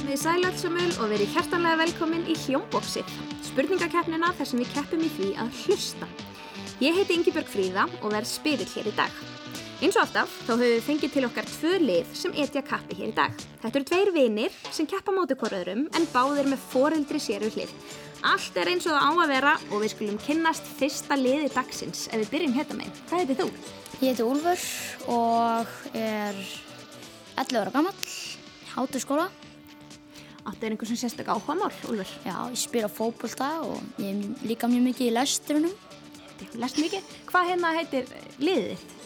Verðið sælatsumul og verið hjertanlega velkomin í Hljómbóksið, spurningakeppnina þar sem við keppum í því að hlusta. Ég heiti Ingibjörg Fríða og verð spyrill hér í dag. Eins og alltaf þá höfum við fengið til okkar tvö lið sem etja kappi hér í dag. Þetta eru tveir vinir sem keppa móti hvor öðrum en báðir með foreldri sér við hlið. Allt er eins og það á að vera og við skulum kynnast fyrsta liði dagsins ef við byrjum hérna meginn. Hvað heitir þú? Ég heiti Úlfur og er 11 ára gammal, hátu skóla. Áttu er einhversum sérstök áhugamál, Úlfur? Já, ég spila fótbolta og ég er líka mjög mikið í lesturinnum. Lest mikið? Hvað hérna heitir liðið þitt?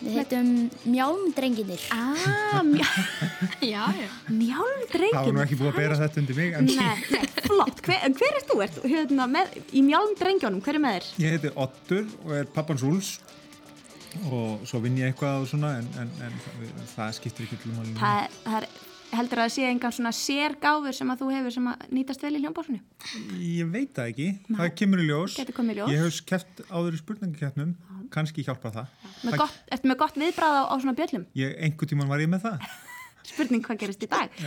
Við heitum Mjálmdrenginir. Ah, mjá... já, já. Mjálmdrenginir. Það var nú ekki búið að bera þetta undir mig, en Nei, nei, flott. Hver, en hver er þú? Ert, þú hérna, með, í mjálmdrengjónum, hver er með þér? ég heiti Ottur og er pappans Úls og svo vinn ég eitthvað og svona, en, en, en það- það skiptir ekki til máli. Það, er- það er, heldur að það sé engan svona sérgáfur sem að þú hefur sem að nýtast vel í hljómbásinu? Ég veit það ekki, það kemur í ljós. Gæti komið í ljós. Ég hef keft áður í spurningakeppnum, kannski hjálpa það. Með það gott, ertu með gott viðbráð á, á svona bjöllum? ég, einhvern tíman var ég með það. Ah. Spurning hvað gerist í dag.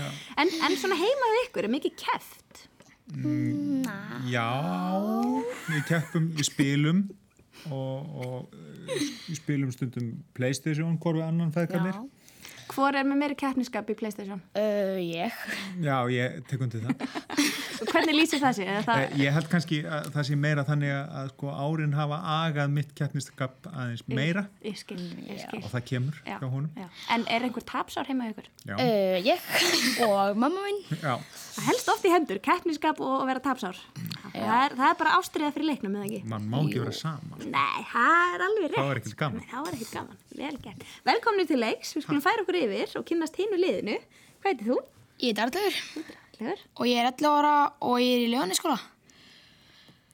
En, en svona heimaðu ykkur, er mikið keft? Já, við keppum, við spilum og, og eh, við spilum stundum Playstation, hvor við annan feðgarnir. Hvor er með meiri keppniskap í Playstation? Uh, ég. Já, ég tek undir það. Og hvernig lýsir það sig? Eða Það, Eh, Ég held kannski að það sé meira þannig að- að sko árin hafa agað mitt keppnistakap aðeins meira ég skil, ég skil. og það kemur Mm. Já, Eh. hjá honum. já. En er einhver tapsár heimaðu ykkur? Já, Uh, ég og mamma minn. já, Það helst oft í hendur, keppniskap og að vera tapsár. Það er, það er bara ástriða fyrir leiknum, eða ekki? mann má ekki vera saman. Nei, það er alveg rétt. Þá er ekkert gaman. Nei, Þá er ekkert gaman, vel gert. Velkomni til leiks, við skulum færa okkur yfir og kynnast hinu liðinu. Hvað heitir þú? Ég er Darlur Legur? og ég er 11 ára og ég er í Ljóniskóla.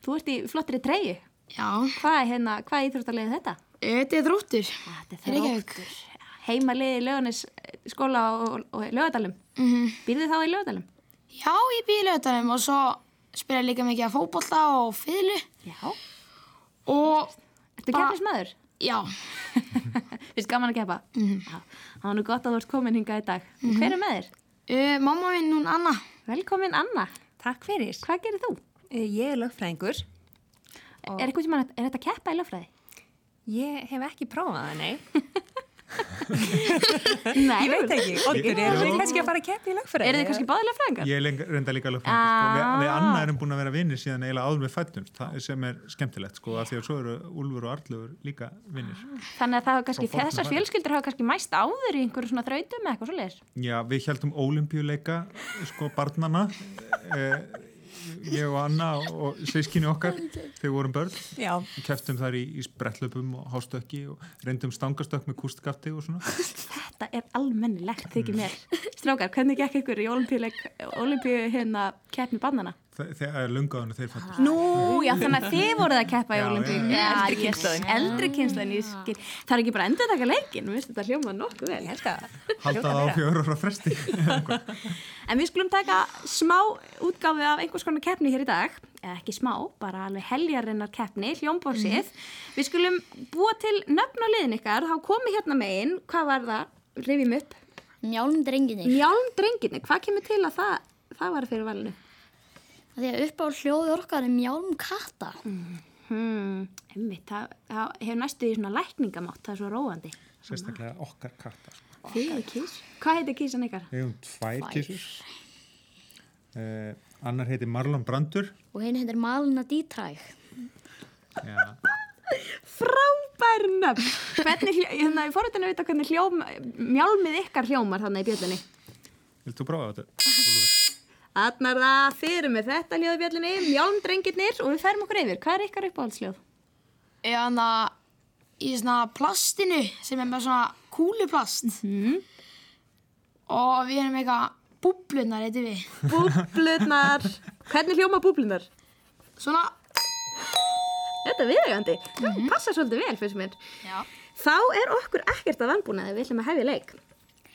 Þú ert í flottri treyju. Já, Hvað er hérna, hvað íþróttarlegið þetta? þetta er þróttur. Ah, Þetta er Reykjavík. þróttur. Heima liði lögunis eh, skóla og, og lögadalum. Mm -hmm. Býrðu þá í lögadalum? Mhm. Já, ég býði í lögutanum og svo spila ég líka mikið að fótbolta og fiðlu Já. og Ertu Ba- keppnismæður? já, Vist gaman að keppa? Mm -hmm. Það var nú gott að þú ert komin hingað í dag. Hver er með þér? uh, mamma minn hún Anna. Velkomin Anna. Takk fyrir. Hvað gerir þú? Eh, Ég er lögfræðingur. Er, einhvern tímann hægt- er þetta að keppa í lögfræði? Ég hef ekki prófað það, nei. Nei, Ég veit ekki. Oddur, erum við kannski að fara að keppa í lögfræði? Er þið kannski báðið lögfræðingar? Ég er lengi- reyndar líka lögfræðingur. Sko. Við, við Ah. annar erum búin að vera vinnir síðan eiginlega áður með fættumst, það sem er skemmtilegt sko, af því að svo eru Úlfur og Arlur líka vinnir. Þannig að það hafa kannski, Frá fornu þessar færi. fjölskyldur hafa kannski mæst áður í einhverju svona þrautum eða eitthvað svoleiðis. Já, við heldum ólimpíuleika sko barnana, eh, ég og Anna og sískinni okkar þegar við vorum börn. Já. keftum þar í, í sprettlöpum og hástökki og reyndum stangastökk með kústgafti og svona Þetta er almennilegt, þykir mér. Strákar, hvernig gekk ykkur í olimpíu hérna keppni bannana? Þe- þegar lungaðunni þeir fættist Nú, já, þannig að þið voruð að keppa í Já, olimpíu. já, Eldri kynsluðin. Eldri kynsluðin, ég skil. Það er ekki bara endur taka leikin, mér finnst þetta hljóma nokkuð vel. Ég held að halda það á fjögur ára fresti En við skulum taka smá útgáfi af einhvers konar keppni hér í dag, eða ekki smá, bara alveg heljarinnar keppni, hljómbórsið. Við skulum búa til nöfn á liðin ykkar, þá komi hérna megin, hvað var það, rifjum upp, Mjálmdrenginir. mjálmdrenginni, hvað kemur til að það, það var fyrir valinu? Það er upp á hljóði orkar er mjálmkatta. Hmm, emmi, það, það hefur næstu í svona lækningamátt, það er svo róandi. sérstaklega okkar katta sko. Fyrir kís. Hvað heitir kísan ykkar? við hefum tvær kísur eh, annar heiti Marlon Brandur Og henni heitir Malna Dítræk. Já. Frábær nöfn! Hvernig, hljó- hérna, ég fór þetta að vita hvernig hljóm, mjálmið ykkar hljómar þannig í bjöllunni. viltu prófa þetta? Úlfur? Þarna er það fyrir með þetta hljóðbjöllinni, mjálmdrengirnir og við ferum okkur yfir. Hvað er ykkar uppáhaldsljóð? Ég er hana í svona plastinu sem er með svona kúluplast og við erum eitthvað búblunar, heitir við. Búblunar. Hvernig hljóma búblunar? Svona, Þetta er viðegandi. Það passar svolítið vel fyrir mér. já, Þá er okkur ekkert að vanbúnaði við ætlum að hefja leik.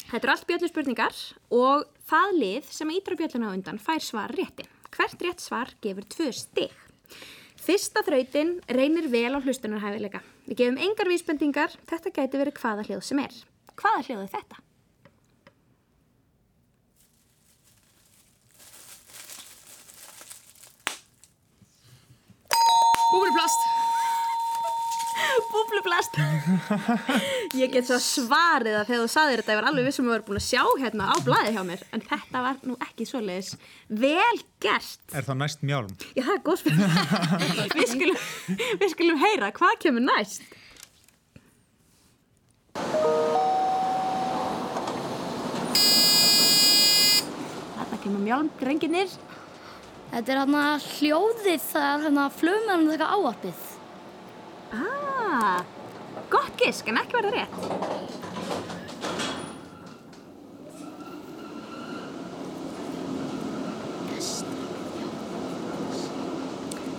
Þetta eru allt bjölluspurningar og það lið sem ítra bjölluna á undan fær svar rétti. Hvert rétt svar gefur tvö stig. Fyrsta þrautin reynir vel á hlustunarhæfileika. Við gefum engar vísbendingar, þetta gæti verið hvaða hljóð sem er. Hvaða hljóð er þetta? Búblast. Búblublast Ég get svo svarið að þegar þú saðir þetta ég var alveg vissum að við varum búin að sjá hérna á blaði hjá mér en þetta var nú ekki svoleiðis vel gert Er það næst mjálm? Já, það er góð spurning við, skulum, við skulum heyra hvað kemur næst Þarna kemur mjálmdrenginir Þetta er hann að hljóðið það hann að flugmjörnum þekka ávarpið. Ah, gott gisk en ekki verða rétt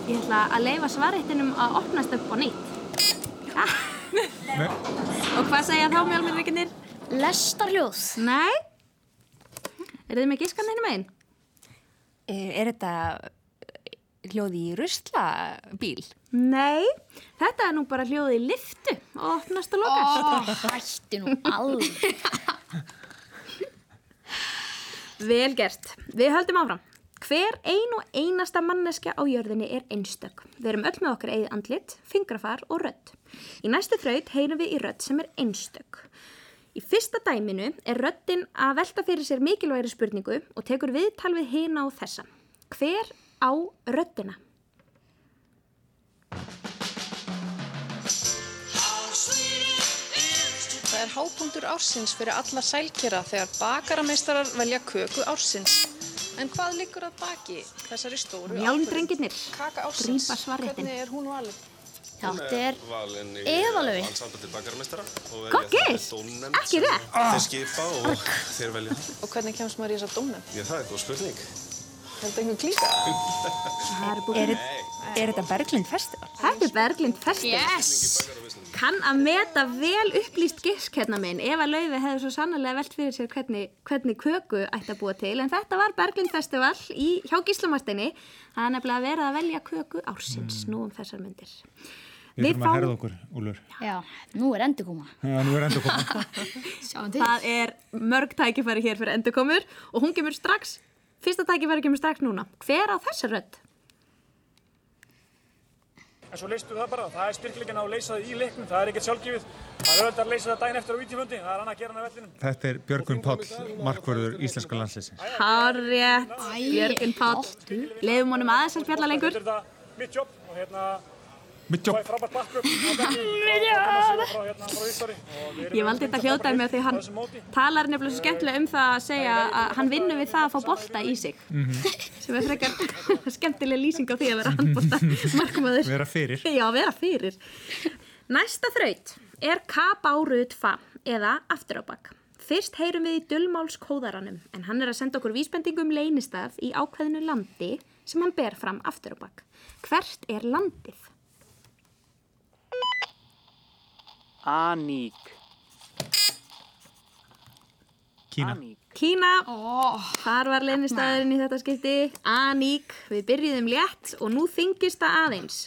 Ég ætla að leifa svarréttinum að opnast upp á nýtt. Ah, Nei, og hvað segja þá mjálmurvikinir? Lestarljóð. Nei? Er þið með gískan einu megin? Eh, Er þetta hljóði í rusla bíl? Nei, þetta er nú bara hljóðið í liftu og opnast og lokast. Oh, hætti nú alveg. Vel gert. Við höldum áfram. Hver ein og einasta manneskja á jörðinni er einstök. Við erum öll með okkar eigið andlit, fingrafar og rödd. Í næstu þraut heyrum við í rödd sem er einstök. Í fyrsta dæminu er röddin að velta fyrir sér mikilvægri spurningu og tekur viðtal við hina og þessa. Hver á röddina? Það er hápunktur ársins fyrir alla sælkera þegar bakarameistarar velja köku ársins. En hvað liggur að baki þessari stóru Mjálmdrengirnir. ákvörðun? Kaka ársins, Grípa svarréttinn. hvernig er hún valin? Þetta er valin í eh, Eva Laufey. landsambandi bakarmeistara Gott gisk! Ekki rétt! Þeir skipa og þeir velja Og hvernig kemst maður í þessa dómnefnd? Ég það er góð spurning Heldur einhver klíka? Það er búin. Er þetta Berglind festival? Þetta er Berglind Festur. Bakarameistarar Kann að meta vel upplýst gisk hérna minn. Eva Lauði hefði svo sannlega velt fyrir sér hvernig, hvernig köku ætti að búa til. En þetta var Berglind Festival í, hjá Gíslamartinni. Það er nefnilega verið að velja köku ársins nú um þessar myndir. Mm. við þurfum að fáum- herða okkur, Úlur. Já, nú er endur koma. Já, nú er enda komið. Sjáum til. Það er mörg tækifæri hér fyrir endurkomur og hún kemur strax, fyrsta tækifæri kemur strax núna. Hver á þessa rödd? En svo leistu það bara, það er styrkleikin á að leysa það í leiknum, það er ekkert sjálfgefið. Það er öll að leysa það daginn eftir á vítifundi, það er annað að gera hann að vellinum. Þetta er Björgvin Páll, markvörður íslenska landslýsins. Hárrétt, Björgun Páll. Leifum honum aðeins að spjalla lengur. Þetta er þetta mitt jobb og hérna, Mitt það jobb. er frábært bakkup. Mitt jobb! Frá hérna, frá Ísari. Ég valdi þetta hljóðdæmi af því hann talar nefnilega svo skemmtilega um það að segja að hann vinnur við það að fá bolta í sig Mhm. sem er frekar skemmtileg lýsing á því að vera handbolta markmaður. Vera fyrir. Já, vera fyrir. Næsta þraut er kabárutfa eða afturábak. Fyrst heyrum við í dullmálskóðaranum en hann er að senda okkur vísbendingum leynistað í ákveðinu landi sem hann ber fram afturábak. Hvert er landið? Aník. Kína. Aník. Kína. Ó, Þar var leynistæðurinn í þetta skipti, Aník, við byrjuðum létt og nú þingist það aðeins.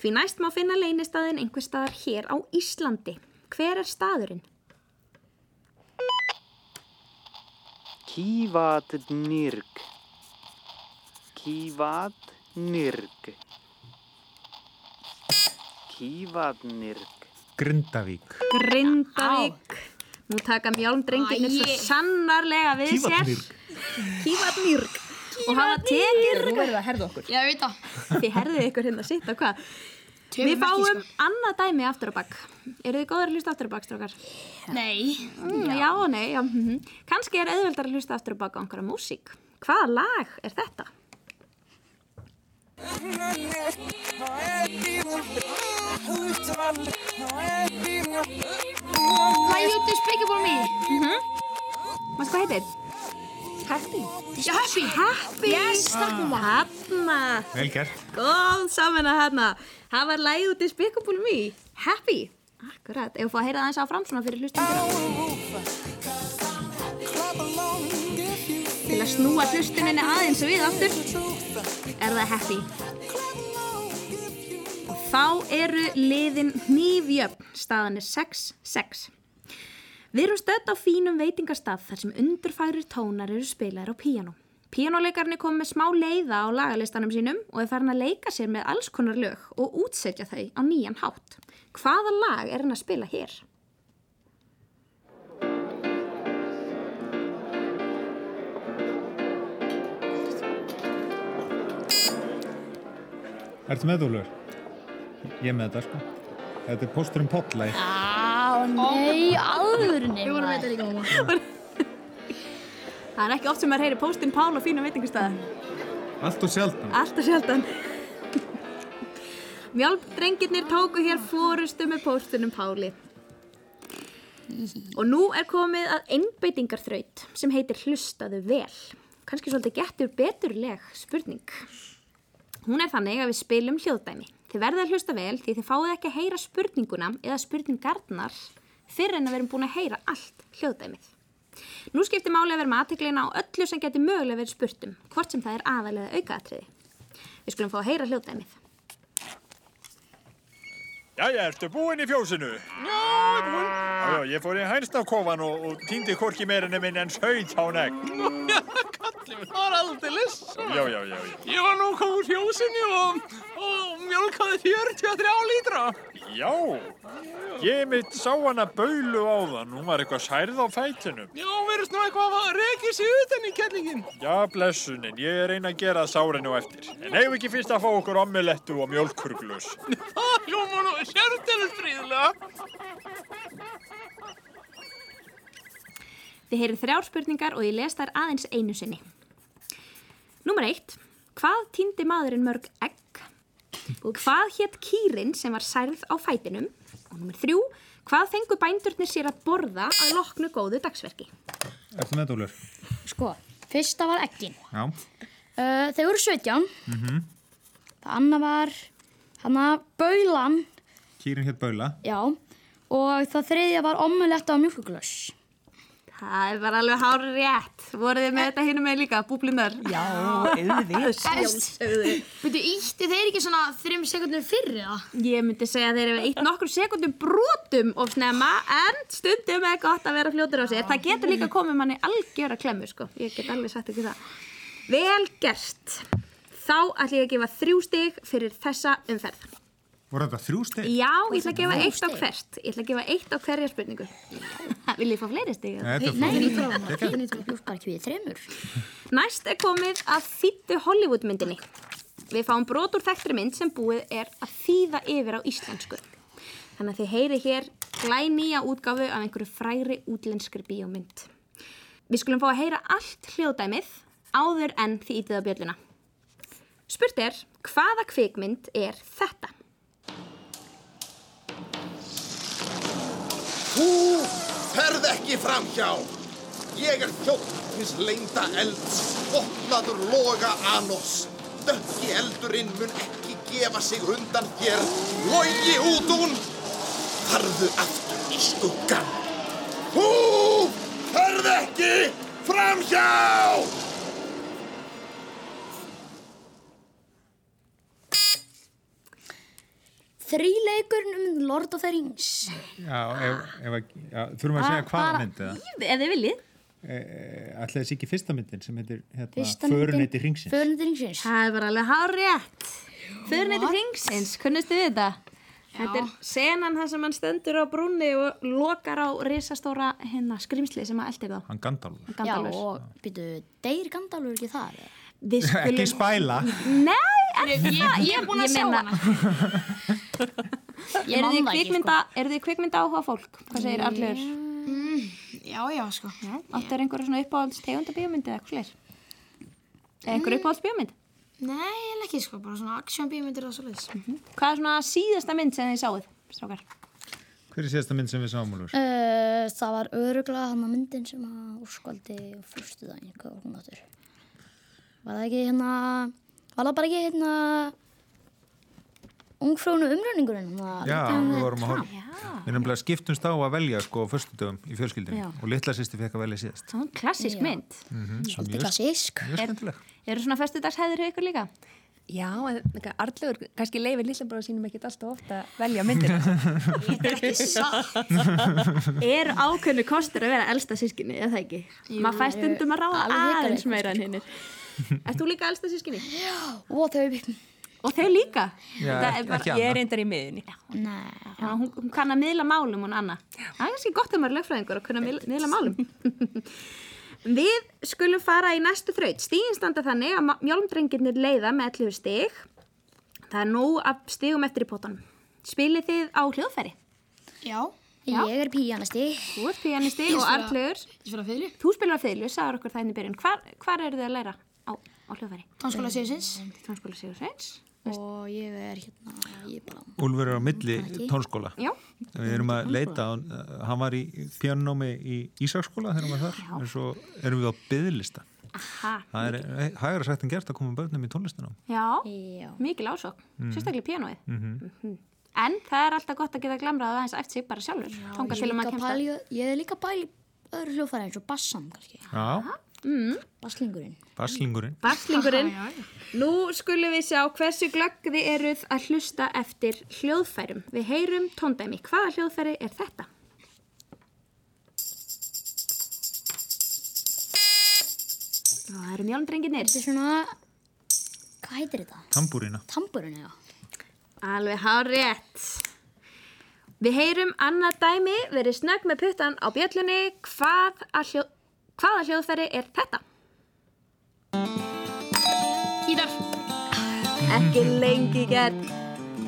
Því næst má finna leynistæðin einhver staðar hér á Íslandi. Hver er staðurinn? Kívatnirk. Kívatnirk. Kívatnirk. Grindavík. Grindavík. Nú taka mjálmdrengirnir svo sannarlega við sér. Kívatnirk. Kívatnýrk. Og hafa tekið, nú verður það herðu okkur. ég veit það. Þið herðið ykkur hérna sitt og hvað. Tveimur Við merki, fáum annað dæmi aftur á bakk. Eru þið góðar að hlusta aftur á bakk, strókar? Nei. Mm, já og nei, já. Mm Kanski er auðveldar að hlusta aftur á baka á einhverja músík. Hvaða lag er þetta? My youth is speaking for me. Mást hvað heitir? Happy. Já, happy. Happy. Yes, takk um það. Hanna, Vel gert. góð saman að hanna. Það var lagið út í Spikabúl Me. Happy. Akkurat, ef við fá að heyra það aðeins áfram svona fyrir hlustendur. Til að snúa hlustuninni aðeins við aftur, er það happy. Og þá eru liðin nýfjöfn, staðan er 6-6. Við erum stödd á fínum veitingastað þar sem undurfærir tónar eru spilaðir á píanó. Píanóleikarni kom með smá leiða á lagalistanum sínum og er farin að leika sér með alls konar lög og útsetja þau á nýjan hátt. Hvaða lag er hann að spila hér? Ertu með þú, Lur? Ég er með þetta, sko. Þetta er póstur um potlæg. Á, nei, alvörunni. Við vorum eitthvað líka. Það er ekki oft sem maður heyri póstinn Pál á fínum veitingustæða. Allt og sjaldan. Alltaf sjaldan. Mjálpdrengirnir tóku hér fórustu með póstunum Páli. Og nú er komið að einbeitingarþraut sem heitir Hlustaðu vel. Kanski svolítið gettur beturleg spurning. Hún er þannig að við spilum hljóðdæmi. Þið verðið að hlusta vel því þið fáið ekki að heyra spurninguna eða spurningarnar fyrir en að við erum búin að heyra allt hljóðdæmið. Nú skiptir máli að vera með aðteglina á öllu sem getur mögulega verið spurtum, hvort sem það er aðalega aukaatriði. Við skulum fá að heyra hljóðdæmið. Jæja, ertu búinn í fjósinu? Já, búinn. Já, ég fór í hænsnafkofan og, og týndi korki meirinu minn en söyt á negg. Það var aldeilis. Já, já, já, já. Ég var nú kom úr fjósinni og, og mjölkaði 43 lítra. Já, ég mitt sá hana baulu á þann, hún var eitthvað særð á fætinum. Já, verðist nú eitthvað að reykja sig utan í kellingin. Já, blessunin, ég er einn að gera sárinu eftir. En eigum ekki fyrst að fá okkur omelettu og mjölkurglus. Það hljóma nú sérstæðis fríðilega. Þið heyrið þrjár spurningar og ég les þær aðeins einu sinni. Númer eitt. Hvað týndi maðurinn mörg egg? Hvað hétt kýrin sem var særð á fætinum? Og númer þrjú. Hvað fengu bændurnir sér að borða að loknu góðu dagsverki? Ertu með þú, Lur? Sko, fyrsta var eggin. Já. Uh, þau voru 17. Það annað var, hann að baulan, Kýrin hétt Baula. já. Og það þriðja var omuletta á mjölkuglöss. Það var alveg hár rétt. Voruð þið með þetta hinn með líka, búblunar? Já, auðvitað. Byrju, ítti þeir ekki svona þrim sekundur fyrir það? Ég myndi segja að þeir eru eitt nokkur sekundum brotum of snemma en stundum er gott að vera fljótur á sér. Það getur líka komið manni algjöra klemmu sko. Ég get alveg sagt ekki það. Vel gert. Þá ætlum ég að gefa þrjú stig fyrir þessa umferð. Voru þetta þrjú steg? Já, ég ætla að gefa eitt á hvert. Ég ætla að gefa eitt á hverja spurningu. Viljið fá fleiri stig? eða? Þetta er Nei, flott. ég bara ekki við þremur. Næst er komið að þýttu Hollywoodmyndinni. Við fáum brot úr þekktri mynd sem búið er að þýða yfir á íslensku. Þannig að þið heyri hér glænýja útgáfu af einhverju fræri útlenskri bíómynd. Við skulum fá að heyra allt hljóðdæmið áður en þið ítið á bjölluna. Spurt er, hvaða kvikmynd er þetta? Þú ferð ekki framhjá. Ég er þjótt hins leynda elds, opnaður loga anós. Dökki eldurinn mun ekki gefa sig undan þér. Logi út hún, farðu aftur í skuggan. Þú ferð ekki framhjá! Þríleikurinn um Lord of the Rings. Já, ef, ef, að- já, þurfum Ah, að segja hvaða myndið það. Ef þið viljið. Ætlaði þessi ekki fyrsta myndin sem heitir hérna, Fyrsta Föruneyti myndin- hringsins. Föruneyti ringsins. Það er bara alveg hár rétt. Föruneyti hringsins, kunnustu við þetta? Þetta er senan þar sem hann stendur á brúnni og lokar á risastóra hérna, skrimsli sem að eldir þá. Hann Gandalf. Já, Gandalfur. og byrju, deyr Gandalfur ekki þar? eða? Við skulum... Ekki spæla. Nei, er Ég, ég, ég er búin að sjá hana. meina- Ég Eru man þið sko. það ekki, sko. kvikmynda, eru þið kvikmynda áhuga fólk? Hvað segir allur? Já, já, sko. Já. Áttu er einhverju svona uppáhalds tegunda bíómyndi eða eitthvað slir? Eða Mm. einhver uppáhalds bíómynd? Nei, ég ekki, sko. Bara svona action bímyndir og svo leiðis. Hvað er svona síðasta mynd sem þið sáuð, strákar? Hver er síðasta mynd sem við sáum, Lur? Uh, það var öruglega hann að myndin sem að úrskvaldi og flustu það einhver hún áttur. Var það ekki hérna, var það bara ekki hérna ungfrúnu umrönningurinn? Já, við vorum að horfa. Við erum bara skiptumst á að velja sko á föstudöfum í fjölskyldunni Já. og litla sýsti fekk að velja síðast. Svona klassisk mynd. Svolítið klassísk. Mjög skemmtileg. Eru svona föstudagshæðir ykkur líka? Já, en Arlur kannski leifir lillabróðu sínum ekkit alltaf ofta að velja myndir. er ákveðnu kostur að vera elsta sískinni, eða það ekki? Maður fæ stundum að ráða alveg aðeins hrikaleg meira en hinnir. Ert þú líka elsta sískinni? Já. Og þau við. Og þau líka? Já, Það ekki- er bara, ekki ég Anna. er reyndar í miðinni. Nei. Já, hún, hún kann að miðla málum hún Anna. Það er kannski gott að maður er lögfræðingur að kunna miðla, miðla málum. Við skulum fara í næstu þraut. Stíðin standa þannig að ma- mjálmdrengirnir leiða með 11 stig. Það er nóg af stigum eftir í potanum. Spilið þið á hljóðfæri? Já. Ég er píjanisti. Þú ert píjanisti Ég og spila- artlegur. Ég spila fylgju. Þú spilar á fiðlu, sagður okkur það inn í byrjun. Hvar, hvar eru þið að læra á, á hljóðfæri? Tónskóla Sigursins. Tónskóla Sigursins. Og ég er hérna, ég er bara... Úlfur er á milli tónskóla. Já. Við erum að leita, hann- hann var í pianomi í Ísaksskóla þegar hann var þar, en svo erum við á byðlista. Aha. Það er hægur sagt en gert að koma börnum í tónlistunum. Já, mikil ásókn, Mhm. sérstaklega píanóið. Mhm. Mm En það er alltaf gott að geta glemrað aðeins eftir sig bara sjálfur. Tónga til ég um líka að kemta. pæli- Ég er líka bæli öðru hljófæri eins og bassan kannski. Já, Mm. Basslingurinn. baslingurinn. Barslingurinn. Nú skulum við sjá hversu glögg þið eruð að hlusta eftir hljóðfærum. Við heyrum tóndæmi. Hvaða hljóðfæri er þetta? Og það eru mjólndrenginir. Þetta er svona, hvað heitir þetta? Tambúrina. Tamburinn, já. Alveg hár rétt. Við heyrum annað dæmi, verið snögg með puttan á bjöllunni. Hvað að hljó... Hvaða hljóðfæri er þetta? Gítar. Ekki lengi gert.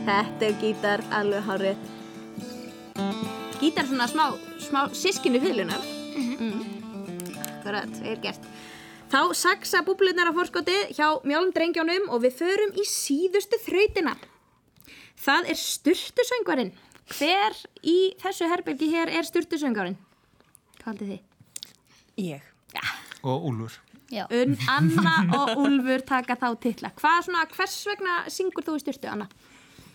Þetta er gítar, alveg hár rétt. Gítar svona smá, smá sískinu fylgjunar. Mm Akkurat, er gert. Þá saksa búblunar á fórskotið hjá mjálmdrengjónum og við förum í síðustu þrautina. Það er styrtusöngvarinn. Hver í þessu herbyrgi hér er styrtusöngvarinn? Hvað haldið þið? Ég. Og Úlfur. Já. Unn, Anna og Úlfur taka þá titla. Hvað svona, hvers vegna syngur þú í styrtu, Anna?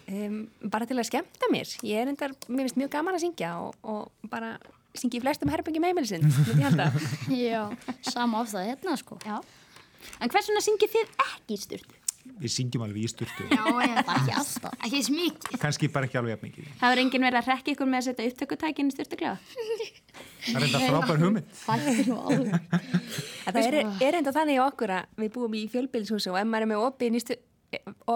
Um, bara til að skemmta mér. Ég er endar, mér finnst mjög gaman að syngja og, og bara syngi í flestum herrbyggjum heimilisinn, myndi ég halda. Já, sama of það hérna sko. Já. En hvers vegna syngið þið ekki í styrtu? Við syngjum alveg í sturtu. Já, ég það ekki alltaf. Ekki eins mikið. Kanski bara ekki alveg jafn mikið. Það er enginn verið að rekka ykkur með að setja upptökutækinn í styrtuklefa? Það er enda frábær hugmynd. En Það er, er enda þannig á okkur að við búum í fjölbílshúsi og ef maður er með opin, stu,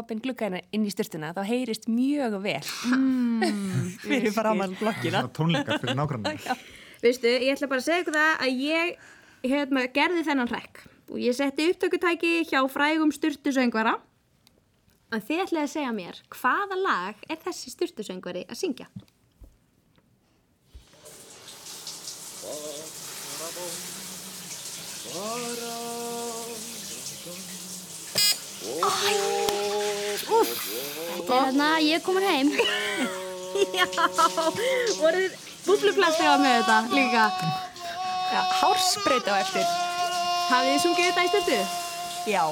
opin glugga hérna inn í styrtuna þá heyrist mjög vel mm, fyrir framann blokkina. Það er tónleikar fyrir nákvæmlega. Veistu, ég ætla bara að segja ykkur það að ég hérna, gerði þennan rekk og ég setti upptökutæki hjá frægum styrtusöngvara en þið ætlaði að segja mér hvaða lag er þessi styrtusöngvari að syngja? Úf, þetta er hérna, ég er komin heim. Já, voruð búbluplasti á með þetta líka Já, hársbreyt á eftir Hafið þið sungið þetta í styrtu? Já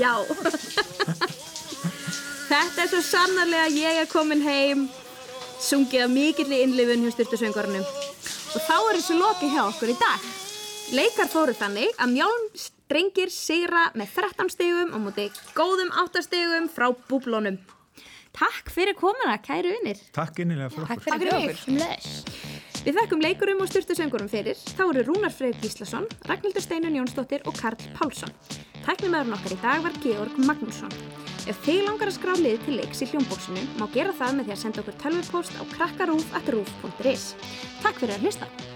Já Þetta er svo sannarlega ég er komin heim sungið af mikill í innlifun hjá styrtusöngvarnum og þá er þessu lokið hjá okkur í dag Leikar fóru þannig að mjálm strengir sigra með 13 stegum og múti góðum 8 stegum frá búblónum Takk fyrir komuna, kæru unir Takk innilega fyrir okkur. Við þekkum leikurum og styrtusöngurum fyrir. Þá eru Rúnar Freyr Gíslason, Ragnhildur Steinun Jónsdóttir og Karl Pálsson. Tæknimaðurinn okkar í dag var Georg Magnússon. Ef þið langar að skrá liðið til leiks í hljómbóksinu, má gera það með því að senda okkur tölvupóst á krakkarúf.rúf.is. Takk fyrir að hlusta!